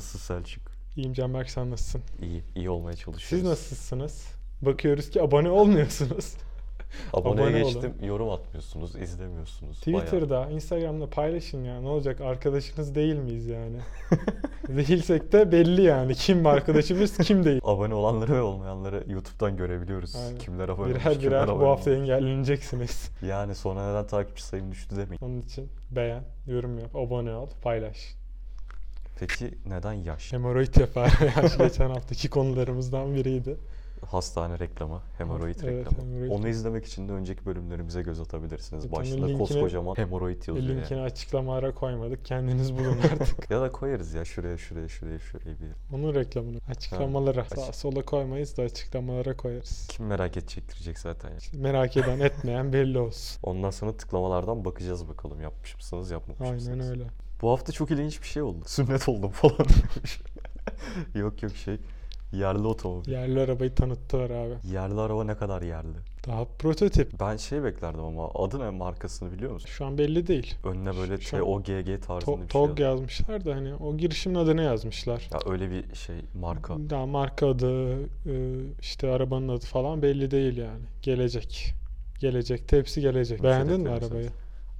Selçuk. İyiyim Canberk sen nasılsın? İyi, iyi olmaya çalışıyoruz. Siz nasılsınız? Bakıyoruz ki abone olmuyorsunuz. Aboneye Abone olun. geçtim, yorum atmıyorsunuz, izlemiyorsunuz. Bayağı. Twitter'da, Instagram'da paylaşın ya. Ne olacak arkadaşınız değil miyiz yani? Değilsek de belli yani. Kim arkadaşımız kim değil. Abone olanları ve olmayanları YouTube'dan görebiliyoruz. Aynen. Kimler abone olmuş, Birer kimler birer abone bu hafta olmamış. engelleneceksiniz. Yani sonra neden takipçi sayım düştü demeyin. Onun için beğen, yorum yap, abone ol, paylaş. Peki neden yaş? Hemoroid yapar. Yani geçen haftaki konularımızdan biriydi. Hastane reklamı, hemoroid Evet, reklamı. hemoroid. Onu izlemek için de önceki bölümlerimize göz atabilirsiniz. Evet, onun Başlığında linkini- koskocaman hemoroid yazıyor yani. Linkini açıklamalara koymadık. Kendiniz bulun artık. Ya da koyarız ya şuraya şuraya şuraya şuraya bir yere. Onun reklamını açıklamalara açık- sağa sola koymayız da açıklamalara koyarız. Kim merak edecektirecek zaten ya. İşte merak eden etmeyen belli olsun. Ondan sonra tıklamalardan bakacağız bakalım yapmış mısınız yapmamış Aynen mısınız? öyle. Bu hafta çok ilginç bir şey oldu. Sünnet oldum falan demiş. yok yok şey yerli otomobil. Yerli arabayı tanıttılar abi. Yerli araba ne kadar yerli? Daha prototip. Ben şey beklerdim ama adı ne markasını biliyor musun? Şu an belli değil. Önüne böyle Şu an- TOGG tarzında To- bir şey. TOG yazıyor. yazmışlar da hani o girişimin adını yazmışlar. Ya öyle bir şey marka. Daha marka adı, e, işte arabanın adı falan belli değil yani. Gelecek. Gelecek. Hepsi gelecek. Beğendin mi Mercedes arabayı?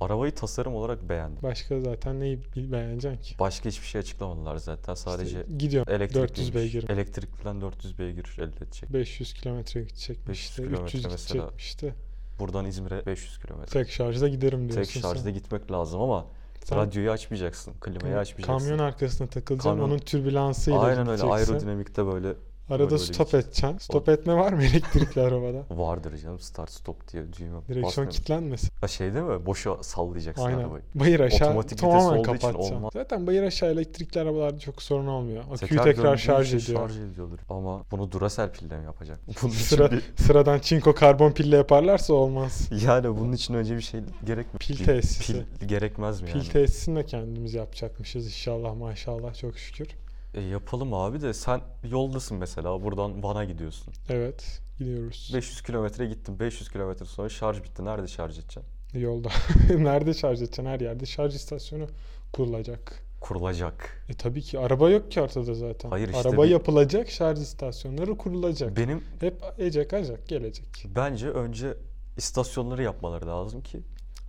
Arabayı tasarım olarak beğendim. Başka zaten neyi bi- beğeneceksin ki? Başka hiçbir şey açıklamadılar zaten. Sadece e, İşte gidiyorum. elektrikliymiş. 400 beygir. Elektrikten 400 beygir elde edecek. 500 kilometre gidecekmiş. 500 işte, kilometre 300 mesela. gidecekmiş de. Buradan İzmir'e 500 kilometre. Tek şarjda giderim diyorsun Tek şarjda sen. gitmek lazım ama Sen radyoyu açmayacaksın, klimayı açmayacaksın. Kamyon arkasına takılacaksın. şey Kamyon- Onun türbülansıyla Aynen öyle gideceksin. aerodinamikte böyle Arada böyle şey. stop gidecek. edeceksin. Stop etme var mı elektrikli arabada? vardır canım start stop diye düğme Direksiyon basmıyorum. kilitlenmesin. Ha şey değil mi? Boşa sallayacaksın Aynen. arabayı. Bayır aşağı Otomatik vites tamamen olduğu için kapatacaksın. olmaz. Zaten bayır aşağı elektrikli arabalarda çok sorun olmuyor. Aküyü döndüğü tekrar için şarj ediyor. Şarj ediyordur. Ama bunu Duracell pille mi yapacak? Bunun için Sıra, bir- sıradan çinko karbon pille yaparlarsa olmaz. yani bunun için önce bir şey gerek mi? Pil Bir- tesisi. Pil gerekmez mi Pil yani? tesisini de kendimiz yapacakmışız inşallah maşallah çok şükür. E, yapalım abi de sen yoldasın mesela buradan Van'a gidiyorsun. Evet gidiyoruz. 500 kilometre gittin. 500 kilometre sonra şarj bitti. Nerede şarj edeceksin? Yolda. Nerede şarj edeceksin? Her yerde şarj istasyonu kurulacak. Kurulacak. E tabii ki araba yok ki ortada zaten. Hayır işte araba bir- yapılacak, şarj istasyonları kurulacak. Benim Hep ecek acak gelecek. Bence önce istasyonları yapmaları lazım ki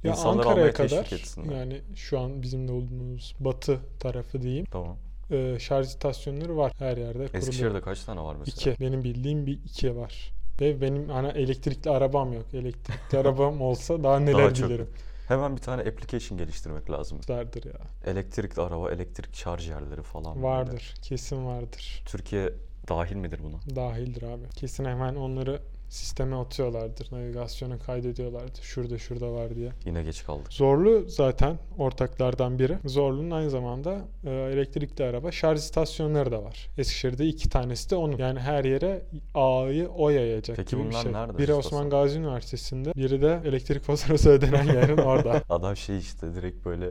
Ya insanları Ankara'ya almaya teşvik kadar etsinler. yani şu an bizimle olduğumuz batı tarafı diyeyim. Tamam. e, şarj istasyonları var her yerde kuruluyor. Eskişehir'de kaç tane var mesela? İki. Benim bildiğim bir iki var. Ve benim ana elektrikli arabam yok. Elektrikli arabam olsa daha neler Daha çok. bilirim. Hemen bir tane application geliştirmek lazım. Vardır ya. Elektrikli araba, elektrik şarj yerleri falan. böyle. Vardır. Kesin vardır. Türkiye dahil midir buna? Dahildir abi. Kesin hemen onları sisteme atıyorlardır. Navigasyona kaydediyorlardır. Şurada şurada var diye. Yine geç kaldık. Zorlu zaten ortaklardan biri. Zorlu'nun aynı zamanda e, elektrikli araba şarj istasyonları da var. Eskişehir'de iki tanesi de onun. Yani her yere A'yı O yayacak Peki gibi bir bunlar şey. nerede Biri istasyon? Osman Gazi Üniversitesi'nde, biri de elektrik faturası ödenen yerin orada. Adam şey işte direkt böyle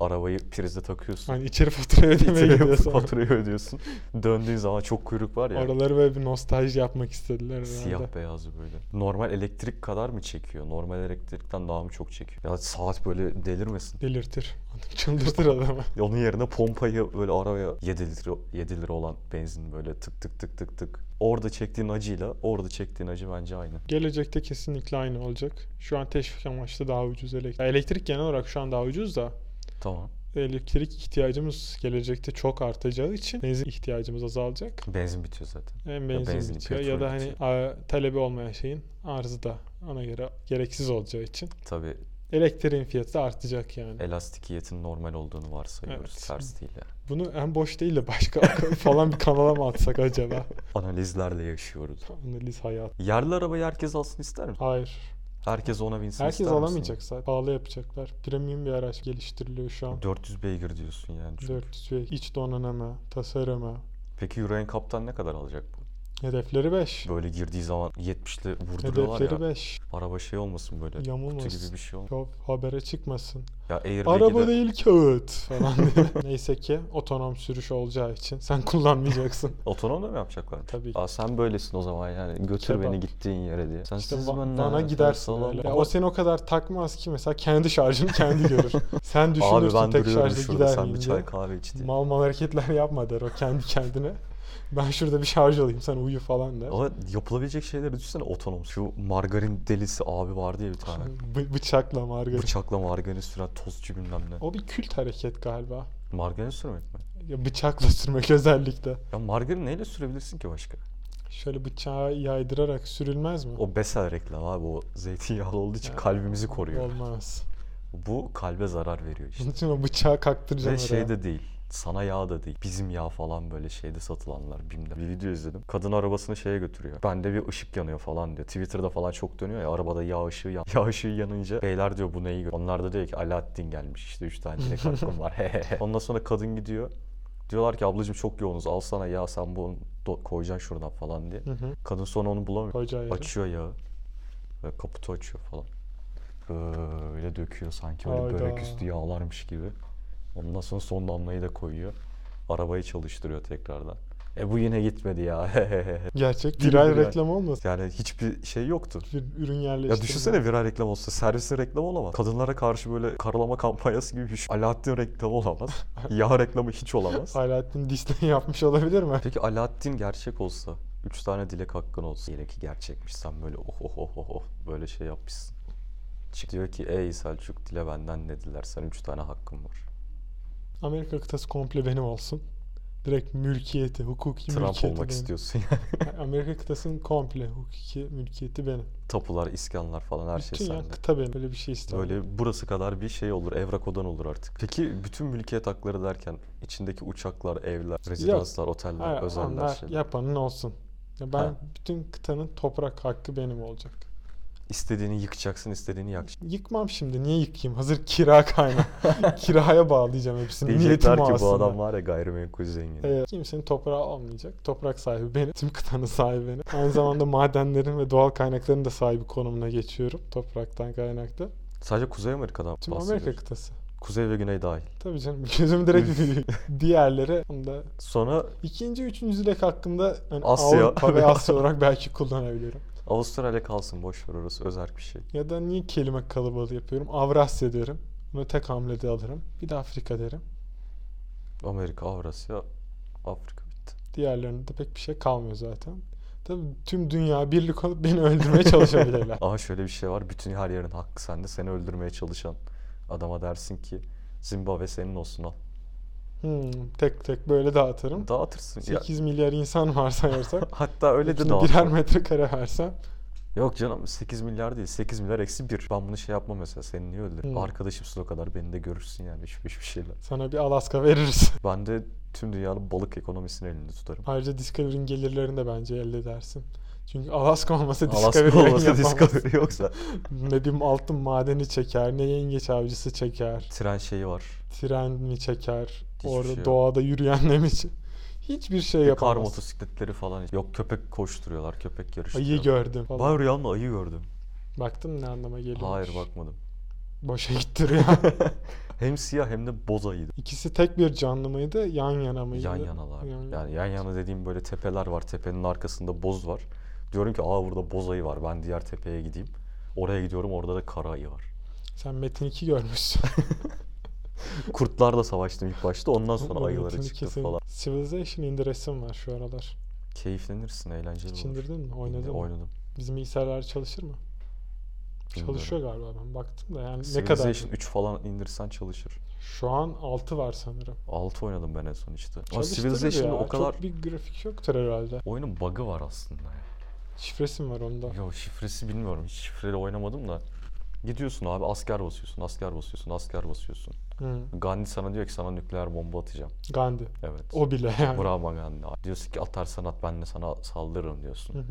arabayı prize takıyorsun. Hani içeri fatura ödemeye İtiriyor, gidiyorsun. faturayı ödüyorsun. Döndüğün zaman çok kuyruk var ya. Oraları böyle bir nostalji yapmak istediler herhalde. Siyah beyazı böyle. Normal elektrik kadar mı çekiyor? Normal elektrikten daha mı çok çekiyor? Ya saat böyle delirmesin. Delirtir. Çıldırtır adamı. Onun yerine pompayı böyle araya 7 litre 7 lira olan benzin böyle tık tık tık tık tık. Orada çektiğin acıyla orada çektiğin acı bence aynı. Gelecekte kesinlikle aynı olacak. Şu an teşvik amaçlı daha ucuz elektrik. Elektrik genel olarak şu an daha ucuz da Tamam. elektrik ihtiyacımız gelecekte çok artacağı için benzin ihtiyacımız azalacak. Benzin bitiyor zaten. Hem benzin, benzin, bitiyor ya petrol da hani a- talebi olmayan şeyin arzı da ona göre gereksiz olacağı için Tabii elektriğin fiyatı da artacak yani. elastikiyetin normal olduğunu varsayıyoruz Evet. ters değil yani. Bunu en boş değil de başka akıl falan bir kanala mı atsak acaba? Analizlerle yaşıyoruz. Analiz hayat. Yerli arabayı herkes alsın ister mi? Hayır. Herkes ona binsin Herkes ister misin? alamayacak zaten. Pahalı yapacaklar. Premium bir araç geliştiriliyor şu an. 400 beygir diyorsun yani. çünkü. 400 ve iç donanımı, tasarımı. Peki Euro NCAP'tan ne kadar alacak bu? Hedefleri 5. Böyle girdiği zaman 70'li vurduruyorlar Hedefleri ya. 5. Araba şey olmasın böyle. Kutu Yamulmasın. gibi bir şey olmasın. Yok habere çıkmasın. Ya airbag'i Araba de- değil kağıt falan diye. Neyse ki otonom sürüş olacağı için sen kullanmayacaksın. Otonom da mı yapacaklar? Tabii ki. Aa, sen böylesin o zaman yani. Götür Kebap. beni gittiğin yere diye. Sen İşte siz Va- ben Van'a nereden gidersin salam- öyle. Ya o seni o kadar takmaz ki mesela kendi şarjını kendi görür. Sen Abi düşünürsün ben tek duruyorum şarjda şurada gider sen miyim bir diye. çay kahve iç diye. Mal mal hareketler yapma der o kendi kendine. Ben şurada bir şarj olayım sen uyu falan der. Ama yapılabilecek şeyleri düşünsene otonom. Şu margarin delisi abi vardı ya bir tane. Bı- bıçakla margarin. Bıçakla margarin süren tozcu bilmem ne. O bir kült hareket galiba. Margarin sürmek mi? Ya bıçakla sürmek özellikle. Ya margarin neyle sürebilirsin ki başka? Şöyle bıçağı yaydırarak sürülmez mi? O Besel reklam abi o zeytinyağlı olduğu için Ya, kalbimizi koruyor. Olmaz. Bu kalbe zarar veriyor işte. Onun için o bıçağı kaktıracağım Ve oraya. şey de değil. Sana yağ da değil. Bizim yağ falan böyle şeyde satılanlar. BİM'de bir video izledim. Kadın arabasını şeye götürüyor. Bende bir ışık yanıyor falan diyor. Twitter'da falan çok dönüyor ya arabada yağ ışığı yan. Yağ ışığı yanınca beyler diyor bu neyi gör. Onlar da diyor ki Alaaddin gelmiş işte 3 tane direkt aklım var. Hehehe. Ondan sonra kadın gidiyor. Diyorlar ki ablacığım çok yoğunuz al sana yağ sen bunu do- koyacaksın şuradan falan diye. Hı hı. Kadın sonra onu bulamıyor. Koyacağı yere. Açıyor yağı. Ve kaputu açıyor falan. Böyle döküyor sanki öyle Hayda. börek üstü yağlarmış gibi. Ondan sonra son damlayı da koyuyor. Arabayı çalıştırıyor tekrardan. E bu yine gitmedi ya. Gerçek Değil viral mi ya? reklam olmasın. yani hiçbir şey yoktu. Bir ürün yerleştirme. Ya düşünsene viral reklam olsa servise reklam olamaz. Kadınlara karşı böyle karalama kampanyası gibi bir şey. Alaaddin reklamı olamaz. Yağ reklamı hiç olamaz. Alaaddin Disney yapmış olabilir mi? Peki Alaaddin gerçek olsa, üç tane dilek hakkın olsa, diyelim ki gerçekmiş sen böyle oh oh oh oh oh böyle şey yapmışsın. Çık diyor ki ey Selçuk dile benden ne dilersen üç tane hakkım var. Amerika kıtası komple benim olsun. Direkt mülkiyeti, hukuki Trump mülkiyeti olmak benim. istiyorsun yani. Amerika kıtasının komple hukuki mülkiyeti benim. Tapular, iskanlar falan her şey Bütün ya sende. kıta benim. Böyle bir şey isterim. Böyle burası kadar bir şey olur, evrak odan olur artık. Peki bütün mülkiyet hakları derken içindeki uçaklar, evler, rezidanslar, oteller, Hayır, özeller onlar şeyler. yapanın olsun. Ya ben şey. Ha. bütün kıtanın toprak hakkı benim olacak. İstediğini yıkacaksın, istediğini yakacaksın. Yıkmam şimdi. Niye yıkayım? Hazır kira kaynağı. Kiraya bağlayacağım hepsini. Diyecekler Niyetim ki o bu aslında. adam var ya gayrimenkul zengini. Evet, Ee, kimsenin toprağı olmayacak. Toprak sahibi benim. Tüm kıtanın sahibi benim. Aynı zamanda madenlerin ve doğal kaynakların da sahibi konumuna geçiyorum. Topraktan kaynaklı. Sadece Kuzey Amerika'dan Tüm Amerika bahsediyoruz. kıtası. Kuzey ve Güney dahil. Tabii canım gözüm direkt büyüyor. diğerleri. Onu da Sonra ikinci, üçüncü dilek hakkında hani Asya. Avrupa ve Asya olarak belki kullanabilirim. Avustralya kalsın boş ver orası özerk bir şey. Ya da niye kelime kalabalığı yapıyorum? Avrasya derim. Bunu tek hamlede alırım. Bir de Afrika derim. Amerika, Avrasya, Afrika bitti. Diğerlerinde de pek bir şey kalmıyor zaten. Tabii tüm dünya birlik olup beni öldürmeye çalışabilirler. Aha şöyle bir şey var. Bütün her yerin hakkı sende. Seni öldürmeye çalışan adama dersin ki Zimbabwe senin olsun al. Hmm, tek tek böyle dağıtırım. Dağıtırsın. Ya, 8 milyar insan var sayarsak. hatta öyle de hepsine dağıt. birer metrekare versem. Yok canım 8 milyar değil. 8 milyar eksi 1. Ben bunu şey yapmam mesela. Seni niye öldürürüm? Hmm. Arkadaşımsın o kadar. Beni de görürsün yani. Üç beş bir şeyler. Sana bir Alaska veririz. Ben de tüm dünyanın balık ekonomisini elinde tutarım. Ayrıca Discovery'in gelirlerini de bence elde edersin. Çünkü Alaska olmasa Discovery Alaska yayın olmasa yapamaz. Discovery yoksa. Ne bir altın madeni çeker, ne yengeç avcısı çeker, Tren şeyi var. tren mi çeker, Hiçbir orada şey yok. doğada yürüyen ne mi çe- Hiçbir şey Ve Kar yapamaz. motosikletleri falan. Yok köpek koşturuyorlar, köpek yarıştırıyorlar. Ayı gördüm falan. Ben rüyamda ayı gördüm. Baktın mı ne anlama geliyor? Hayır bakmadım. Boşa gitti rüya. hem siyah hem de boz ayıydı. İkisi tek bir canlı mıydı, yan yana mıydı? Yan yanalar. Yan yana. Yani yan yana dediğim böyle tepeler var. Tepenin arkasında boz var. Diyorum ki aa burada boz ayı var. Ben diğer tepeye gideyim. Oraya gidiyorum orada da kara ayı var. Sen Metin 2 görmüşsün. Kurtlarla savaştım ilk başta. Ondan sonra ayıları Metin çıktı 2'sin. falan. Civilization indiresim var şu aralar. Keyiflenirsin, eğlenceli Hiç olur. indirdin mi? Oynadın mı? Oynadım. Bizim bilgisayarlar çalışır mı? Bilmiyorum. Çalışıyor galiba ben baktım da yani ne kadar? Civilization 3 falan indirsen çalışır. Şu an 6 var sanırım. 6 oynadım ben en son işte. Ama Çalıştırır Civilization'da ya, o kadar Çok bir grafik yoktur herhalde. oyunun bug'ı var aslında ya. Şifresi mi var onda? Yo şifresi bilmiyorum. Hiç şifreli oynamadım da. Gidiyorsun abi asker basıyorsun, asker basıyorsun, asker basıyorsun. Hı. Gandhi sana diyor ki sana nükleer bomba atacağım. Gandhi. Evet. O bile yani. Bravo Gandhi. abi. Diyorsun ki atarsan at ben de sana saldırırım Hı diyorsun. hı.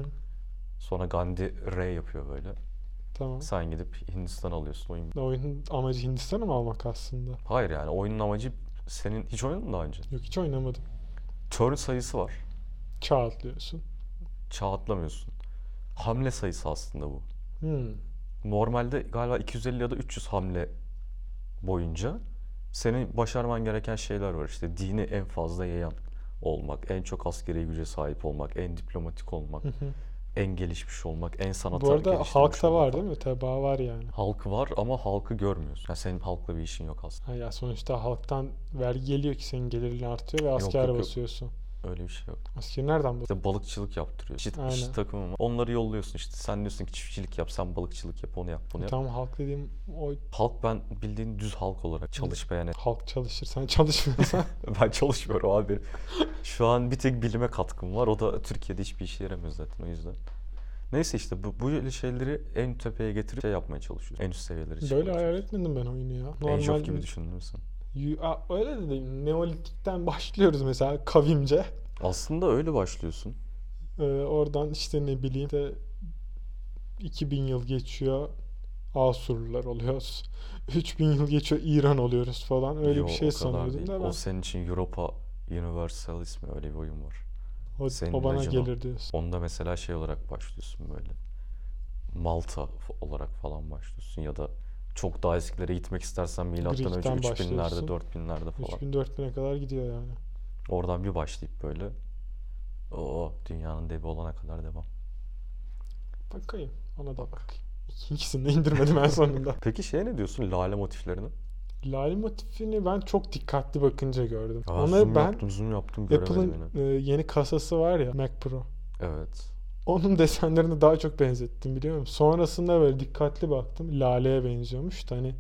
Sonra Gandhi R yapıyor böyle. Tamam. Sen gidip Hindistan alıyorsun. Oyun... Oyunun amacı Hindistan'ı mı almak aslında? Hayır yani oyunun amacı senin... Hiç oynadın mı daha önce? Yok hiç oynamadım. Turn sayısı var. Çağat diyorsun. çağ atlamıyorsun. Hamle sayısı aslında bu. Hmm. Normalde galiba 250 ya da 300 hamle boyunca senin başarman gereken şeyler var. İşte dini en fazla yayan olmak, en çok askeri güce sahip olmak, en diplomatik olmak, Hı hı. en gelişmiş olmak, en sanatar Bu arada geliştirmiş halkta olmak var falan. değil mi? Tebaa var yani. Halkı var ama halkı görmüyorsun. Yani senin halkla bir işin yok aslında. Ha ya sonuçta halktan vergi geliyor ki senin gelirin artıyor ve asker yok, yok. basıyorsun. Öyle bir şey yok. Askeri nereden bu? İşte balıkçılık yaptırıyorsun. İşte Aynen. işçi takımı var. Onları yolluyorsun işte. Sen diyorsun ki çiftçilik yap, sen balıkçılık yap, onu yap, bunu yap. Tam halk dediğim o Halk ben bildiğin düz halk olarak çalışmayan halk çalışır. Sen çalışmıyorsan Ben çalışmıyorum abi. Şu an bir tek bilime katkım var. O da Türkiye'de hiçbir işe yaramıyor zaten o yüzden. Neyse işte bu, bu şeyleri en tepeye getirip şey yapmaya çalışıyoruz. En üst seviyelere çıkmaya böyle hayal çalışıyoruz. etmedim ben oyunu ya. Age Normal of gibi düşündün mü sen? Yu- Aa, öyle de değil. Neolitikten başlıyoruz mesela kavimce. Aslında öyle başlıyorsun. Ee, oradan işte ne bileyim işte 2000 yıl geçiyor Asurlular oluyoruz. 3000 yıl geçiyor İran oluyoruz falan. Öyle Yo, bir o şey kadar sanıyordum değil. da ben. O O, senin için Europa Universalis mi öyle bir oyun var. senin o bana ilacın o. gelir diyorsun. Onda mesela şey olarak başlıyorsun böyle. Malta f- olarak falan başlıyorsun ya da çok daha eskilere gitmek istersen milattan önce Greek'ten 3000'lerde başlıyorsun. 4000'lerde falan. 3000 4000'e kadar gidiyor yani. Oradan bir başlayıp böyle o dünyanın devi olana kadar devam. Bakayım. Ona da bak. İkisini de indirmedim en sonunda. Peki şeye ne diyorsun lale motiflerine? Lale motifini ben çok dikkatli bakınca gördüm. Aa, Ona zoom ben yaptım zoom yaptım göremedim Apple'ın yine. e, yeni kasası var ya Mac Pro. Evet. Onun desenlerini daha çok benzettim biliyor musun? Sonrasında böyle dikkatli baktım. Lale'ye benziyormuş da hani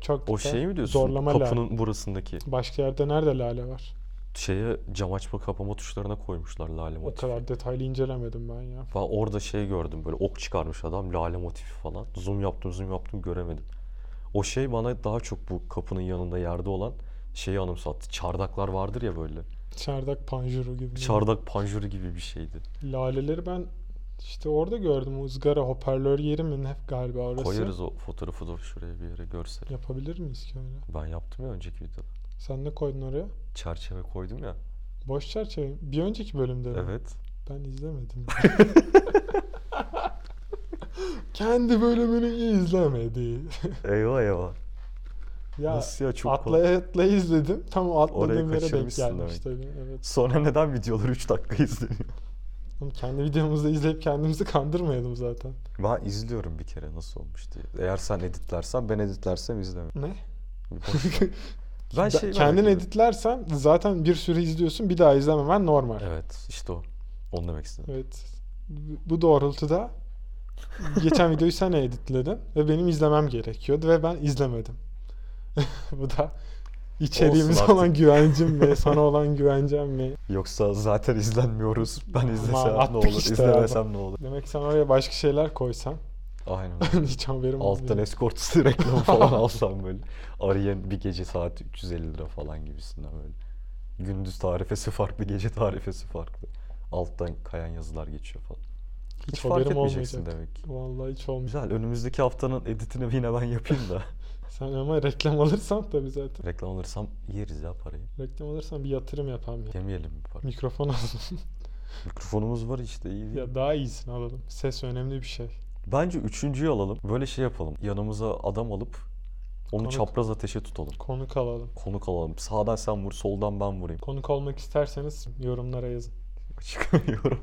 çok O da şeyi mi diyorsun? zorlama Kapının burasındaki Başka yerde nerede lale var? şeye cam açma kapama tuşlarına koymuşlar lale O motifi. kadar detaylı incelemedim ben ya. Ben orada şey gördüm böyle ok çıkarmış adam lale motifi falan. Zoom yaptım zoom yaptım göremedim. O şey bana daha çok bu kapının yanında yerde olan şeyi anımsattı. Çardaklar vardır ya böyle. Çardak panjuru gibi. Çardak panjuru gibi bir şeydi. Laleleri ben işte orada gördüm. O ızgara hoparlör yeri mi ne galiba orası. Koyarız o fotoğrafı da şuraya bir yere görsel. Yapabilir miyiz ki öyle? Ben yaptım ya önceki videoda. Sen ne koydun oraya? Çerçeve koydum ya. Boş çerçeve. mi? Bir önceki bölümde mi? Evet. Ben izlemedim. Kendi bölümünü izlemedi. Eyvah eyvah. ya Nasıl ya çok kolay. atlaya atlaya izledim. Tam o atladığım yere denk kaçırmışsın gelmiş tabii. Evet. Sonra neden videoları 3 dakika izleniyor? Oğlum kendi videomuzu izleyip kendimizi kandırmayalım zaten. Ben izliyorum bir kere nasıl olmuş diye. Eğer sen editlersen ben editlersem izleme. Ne? Boş ver. ben Ben şey merak kendin ediyorum. editlersen zaten bir sürü izliyorsun bir daha izlememen normal. Evet. Evet işte o. Onu demek istedim. Bu bu doğrultuda geçen videoyu sen editledin ve benim izlemem gerekiyordu ve ben izlemedim. bu da içeriğimize artık. olan güvencim mi, sana olan güvencem mi? Yoksa zaten izlenmiyoruz. Ben Ama izlesem ne attık olur, işte izlemesem ne olur. Demek ki sen oraya başka şeyler koysan Aynen. hiç haberim Alttan olmuyor. eskortsu reklamı falan alsam böyle. Arayan bir gece saat 350 lira falan gibisinden böyle. Gündüz tarifesi farklı, gece tarifesi farklı. Alttan kayan yazılar geçiyor falan. Hiç, fark haberim etmeyeceksin olmayacak. demek ki. Vallahi hiç olmayacak. Güzel. Önümüzdeki haftanın editini yine ben yapayım da. Sen ama reklam alırsan tabii zaten. Reklam alırsam yeriz ya parayı. Reklam alırsan bir yatırım yapam ya. Yemeyelim mi parayı? Mikrofon alalım. Mikrofonumuz var işte iyi değil. ya daha iyisini alalım. Ses önemli bir şey. Bence üçüncüyü alalım. Böyle şey yapalım. Yanımıza adam alıp onu Konuk. çapraz ateşe tutalım. Konuk alalım. Konuk alalım. Sağdan sen vur, soldan ben vurayım. Konuk olmak isterseniz yorumlara yazın. Çıkamıyorum.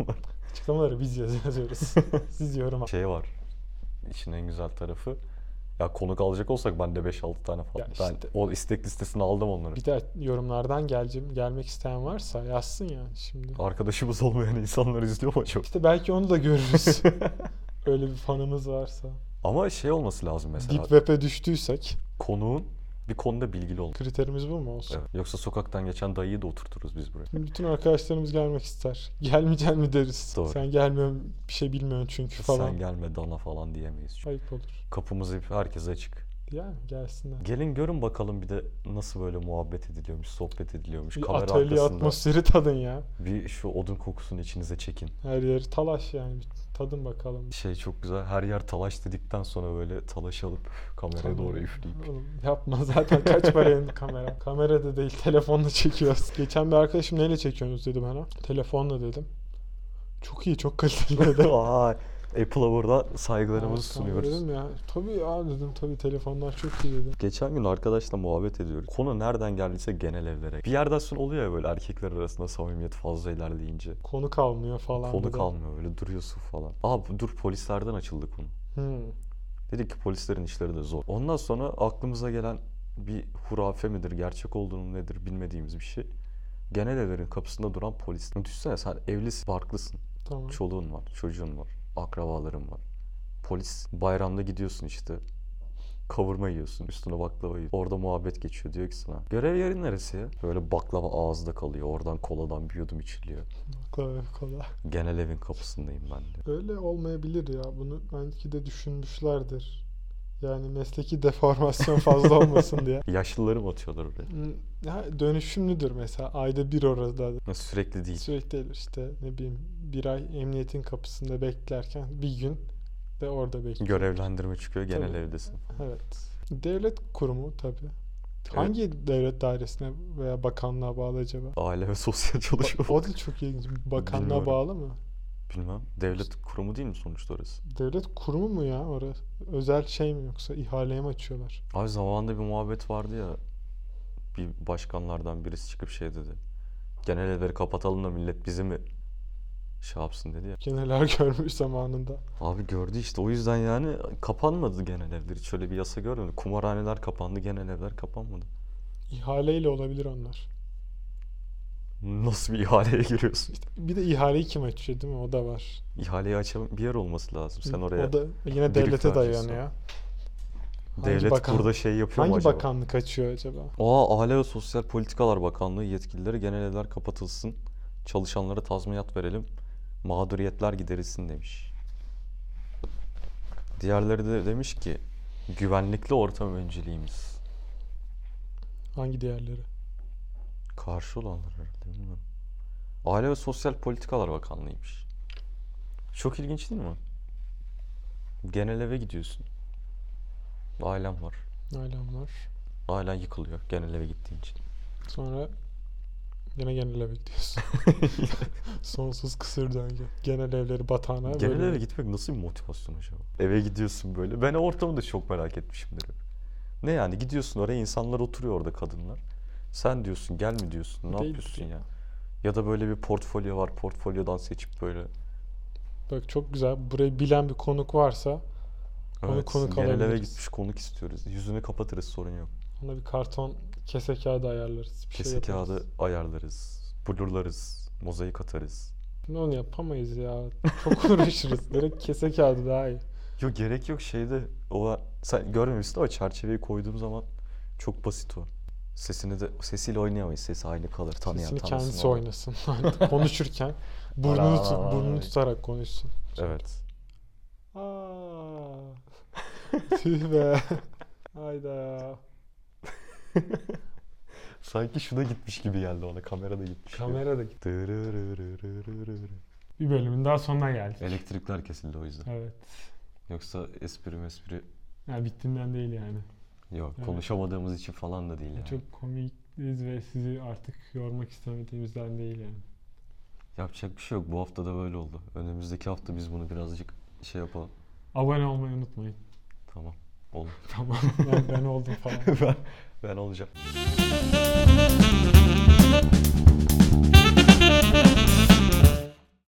Açıklamaları biz yaz- yazıyoruz. Siz yorum şey var. İşin en güzel tarafı. Ya konuk alacak olsak ben de 5-6 tane falan. Ya Ben işte. o istek listesini aldım onları. Bir de yorumlardan geleceğim. Gelmek isteyen varsa yazsın yani şimdi. Arkadaşımız olmayan insanlar izliyor mu acaba? İşte belki onu da görürüz. Öyle bir fanımız varsa. Ama şey olması lazım Deep mesela. Web'e düştüysek Konuğun bir konuda bilgili olması. kriterimiz bu mu olsun? Evet. Yoksa sokaktan geçen dayıyı da oturturuz biz buraya. Bütün arkadaşlarımız gelmek ister. Gelmeyecek mi deriz. Doğru. Sen gelmiyorsun bir şey bilmiyorsun çünkü falan. Sen gelme dana falan diyemeyiz. Çünkü Ayıp olur. kapımız hep herkese açık. Yani gelsinler. Gelin görün bakalım bir de nasıl böyle muhabbet ediliyormuş, sohbet ediliyormuş. Bir Kamera atölye arkasında atmosferi tadın ya. bir şu odun kokusunu içinize çekin. Her yeri talaş yani. Bir tadın bakalım. Şey çok güzel. Her yer talaş dedikten sonra böyle talaş alıp kameraya doğru üfleyip. Oğlum yapma zaten kaç parayın kamera. Kamera da değil telefonla çekiyoruz. Geçen bir arkadaşım neyle çekiyorsunuz dedi bana. Telefonla dedim. Çok iyi, çok kaliteli. Vay. Apple'a burada saygılarımızı Evet, tamam sunuyoruz. Dedim ya. Tabii ya dedim tabii telefonlar çok iyi dedim. Geçen gün arkadaşla muhabbet ediyoruz. Konu nereden geldiyse genel evlere. Bir yerden sonra oluyor ya böyle erkekler arasında samimiyet fazla ilerleyince. Konu kalmıyor falan. Konu dedim. kalmıyor böyle duruyorsun falan. Aa bu- dur polislerden açıldı konu. Hmm. Dedik ki polislerin işleri de zor. Ondan sonra aklımıza gelen bir hurafe midir, gerçek olduğunu nedir bilmediğimiz bir şey. Genel evlerin kapısında duran polis. Düşünsene sen evlisin, barklısın. Tamam. Çoluğun var, çocuğun var, akrabaların var. Polis bayramda gidiyorsun işte. Kavurma yiyorsun, üstüne baklava yiyorsun. Orada muhabbet geçiyor. Diyor ki sana görev yerin neresi ya? Böyle baklava ağızda kalıyor. Oradan koladan bir yudum içiliyor. Kolay kolay. Genel evin kapısındayım ben diyor. Öyle olmayabilir ya. Bunu belki de düşünmüşlerdir. Yani mesleki deformasyon fazla olmasın diye. Yaşlıları mı atıyorlar oraya? Hmm, Ya dönüşümlüdür mesela. Ayda bir orada Ya Sürekli değil. sürekli olur işte ne bileyim bir ay emniyetin kapısında beklerken bir gün de orada bekliyor. Görevlendirme çıkıyor genel Tabii. evdesin. Evet. Devlet kurumu tabii. Hangi devlet dairesine veya bakanlığa bağlı acaba? Aile ve sosyal çalışma. Ba- O da çok ilginç. Bakanlığa Bilmiyorum. bağlı mı? Bilmem. Devlet kurumu değil mi sonuçta orası? Devlet kurumu mu ya orası? Özel şey mi yoksa ihaleye mi açıyorlar? Abi zamanında bir muhabbet vardı ya. Bir başkanlardan birisi çıkıp şey dedi. Genel evleri kapatalım da millet bizi mi şey yapsın dedi ya. Geneler görmüş zamanında. Abi gördü işte o yüzden yani kapanmadı genel evler. Hiç öyle bir yasa görmedim. Kumarhaneler kapandı, genel evler kapanmadı. İhaleyle olabilir onlar. Nasıl bir ihaleye giriyorsun? İşte bir de ihaleyi kim açıyor değil mi? O da var. İhaleyi açan bir yer olması lazım. Sen oraya O da yine biri devlete falan dayanıyor. açılsa. ya. hangi devlet bakan- burada şey yapıyor mu Hangi acaba? bakanlık açıyor acaba? Aa, Aile ve Sosyal Politikalar Bakanlığı yetkilileri genel evler kapatılsın, çalışanlara tazminat verelim, mağduriyetler giderilsin demiş. Diğerleri de demiş ki güvenlikli ortam önceliğimiz. Hangi diğerleri? Karşı olanlar herhalde bilmiyorum. Aile ve Sosyal Politikalar Bakanlığıymış. Çok ilginç değil mi? Genel eve gidiyorsun. Ailem var. Ailem var. Ailen yıkılıyor genel eve gittiğin için. Sonra yine genel eve gidiyorsun. Sonsuz kısır döngü. Genel evleri batağına Genel bölüyor. eve gitmek nasıl bir motivasyon acaba? Eve gidiyorsun böyle. Ben o ortamı da çok merak etmişimdir. hep. Ne yani gidiyorsun oraya insanlar oturuyor orada kadınlar. Sen diyorsun gel mi diyorsun ne Değil yapıyorsun ki. ya? Ya da böyle bir portfolyo var portfolyodan seçip böyle. Bak çok güzel. Burayı bilen bir konuk varsa Onu Evet, konuk genel eve alabiliriz. gitmiş konuk istiyoruz. Yüzünü kapatırız sorun yok. ona bir karton kese kağıdı ayarlarız. Bir Kese şey yaparız. kağıdı ayarlarız. Blurlarız. Mozaik atarız. Ne onu yapamayız ya. Çok uğraşırız. Direkt kese kağıdı daha iyi. Yok gerek yok şeyde o sen görmemişsin ama çerçeveyi koyduğum zaman çok basit o. Sesini de sesiyle oynayamayız. Sesi aynı kalır. Tanıyan Sesini tanısın kendisi onu. oynasın. Konuşurken burnunu, Ara- tut, burnunu Ay. tutarak konuşsun. Evet. Aa. Tüh be. Hayda. Sanki şuna gitmiş gibi geldi ona. Kamera da gitmiş. Kamerada git. Bir bölümün daha sonuna geldik. Elektrikler kesildi o yüzden. Evet. Yoksa espri mespri Ya bittiğinden değil yani. yok. Evet. Konuşamadığımız için falan da değil yani. Çok komikliyiz ve sizi artık yormak istemediğimizden değil yani. Yapacak bir şey yok. Bu hafta da böyle oldu. Önümüzdeki hafta biz bunu birazcık şey yapalım. Abone olmayı unutmayın. Tamam. Olur. Tamam. Yani ben oldum falan. ben, ben olacağım.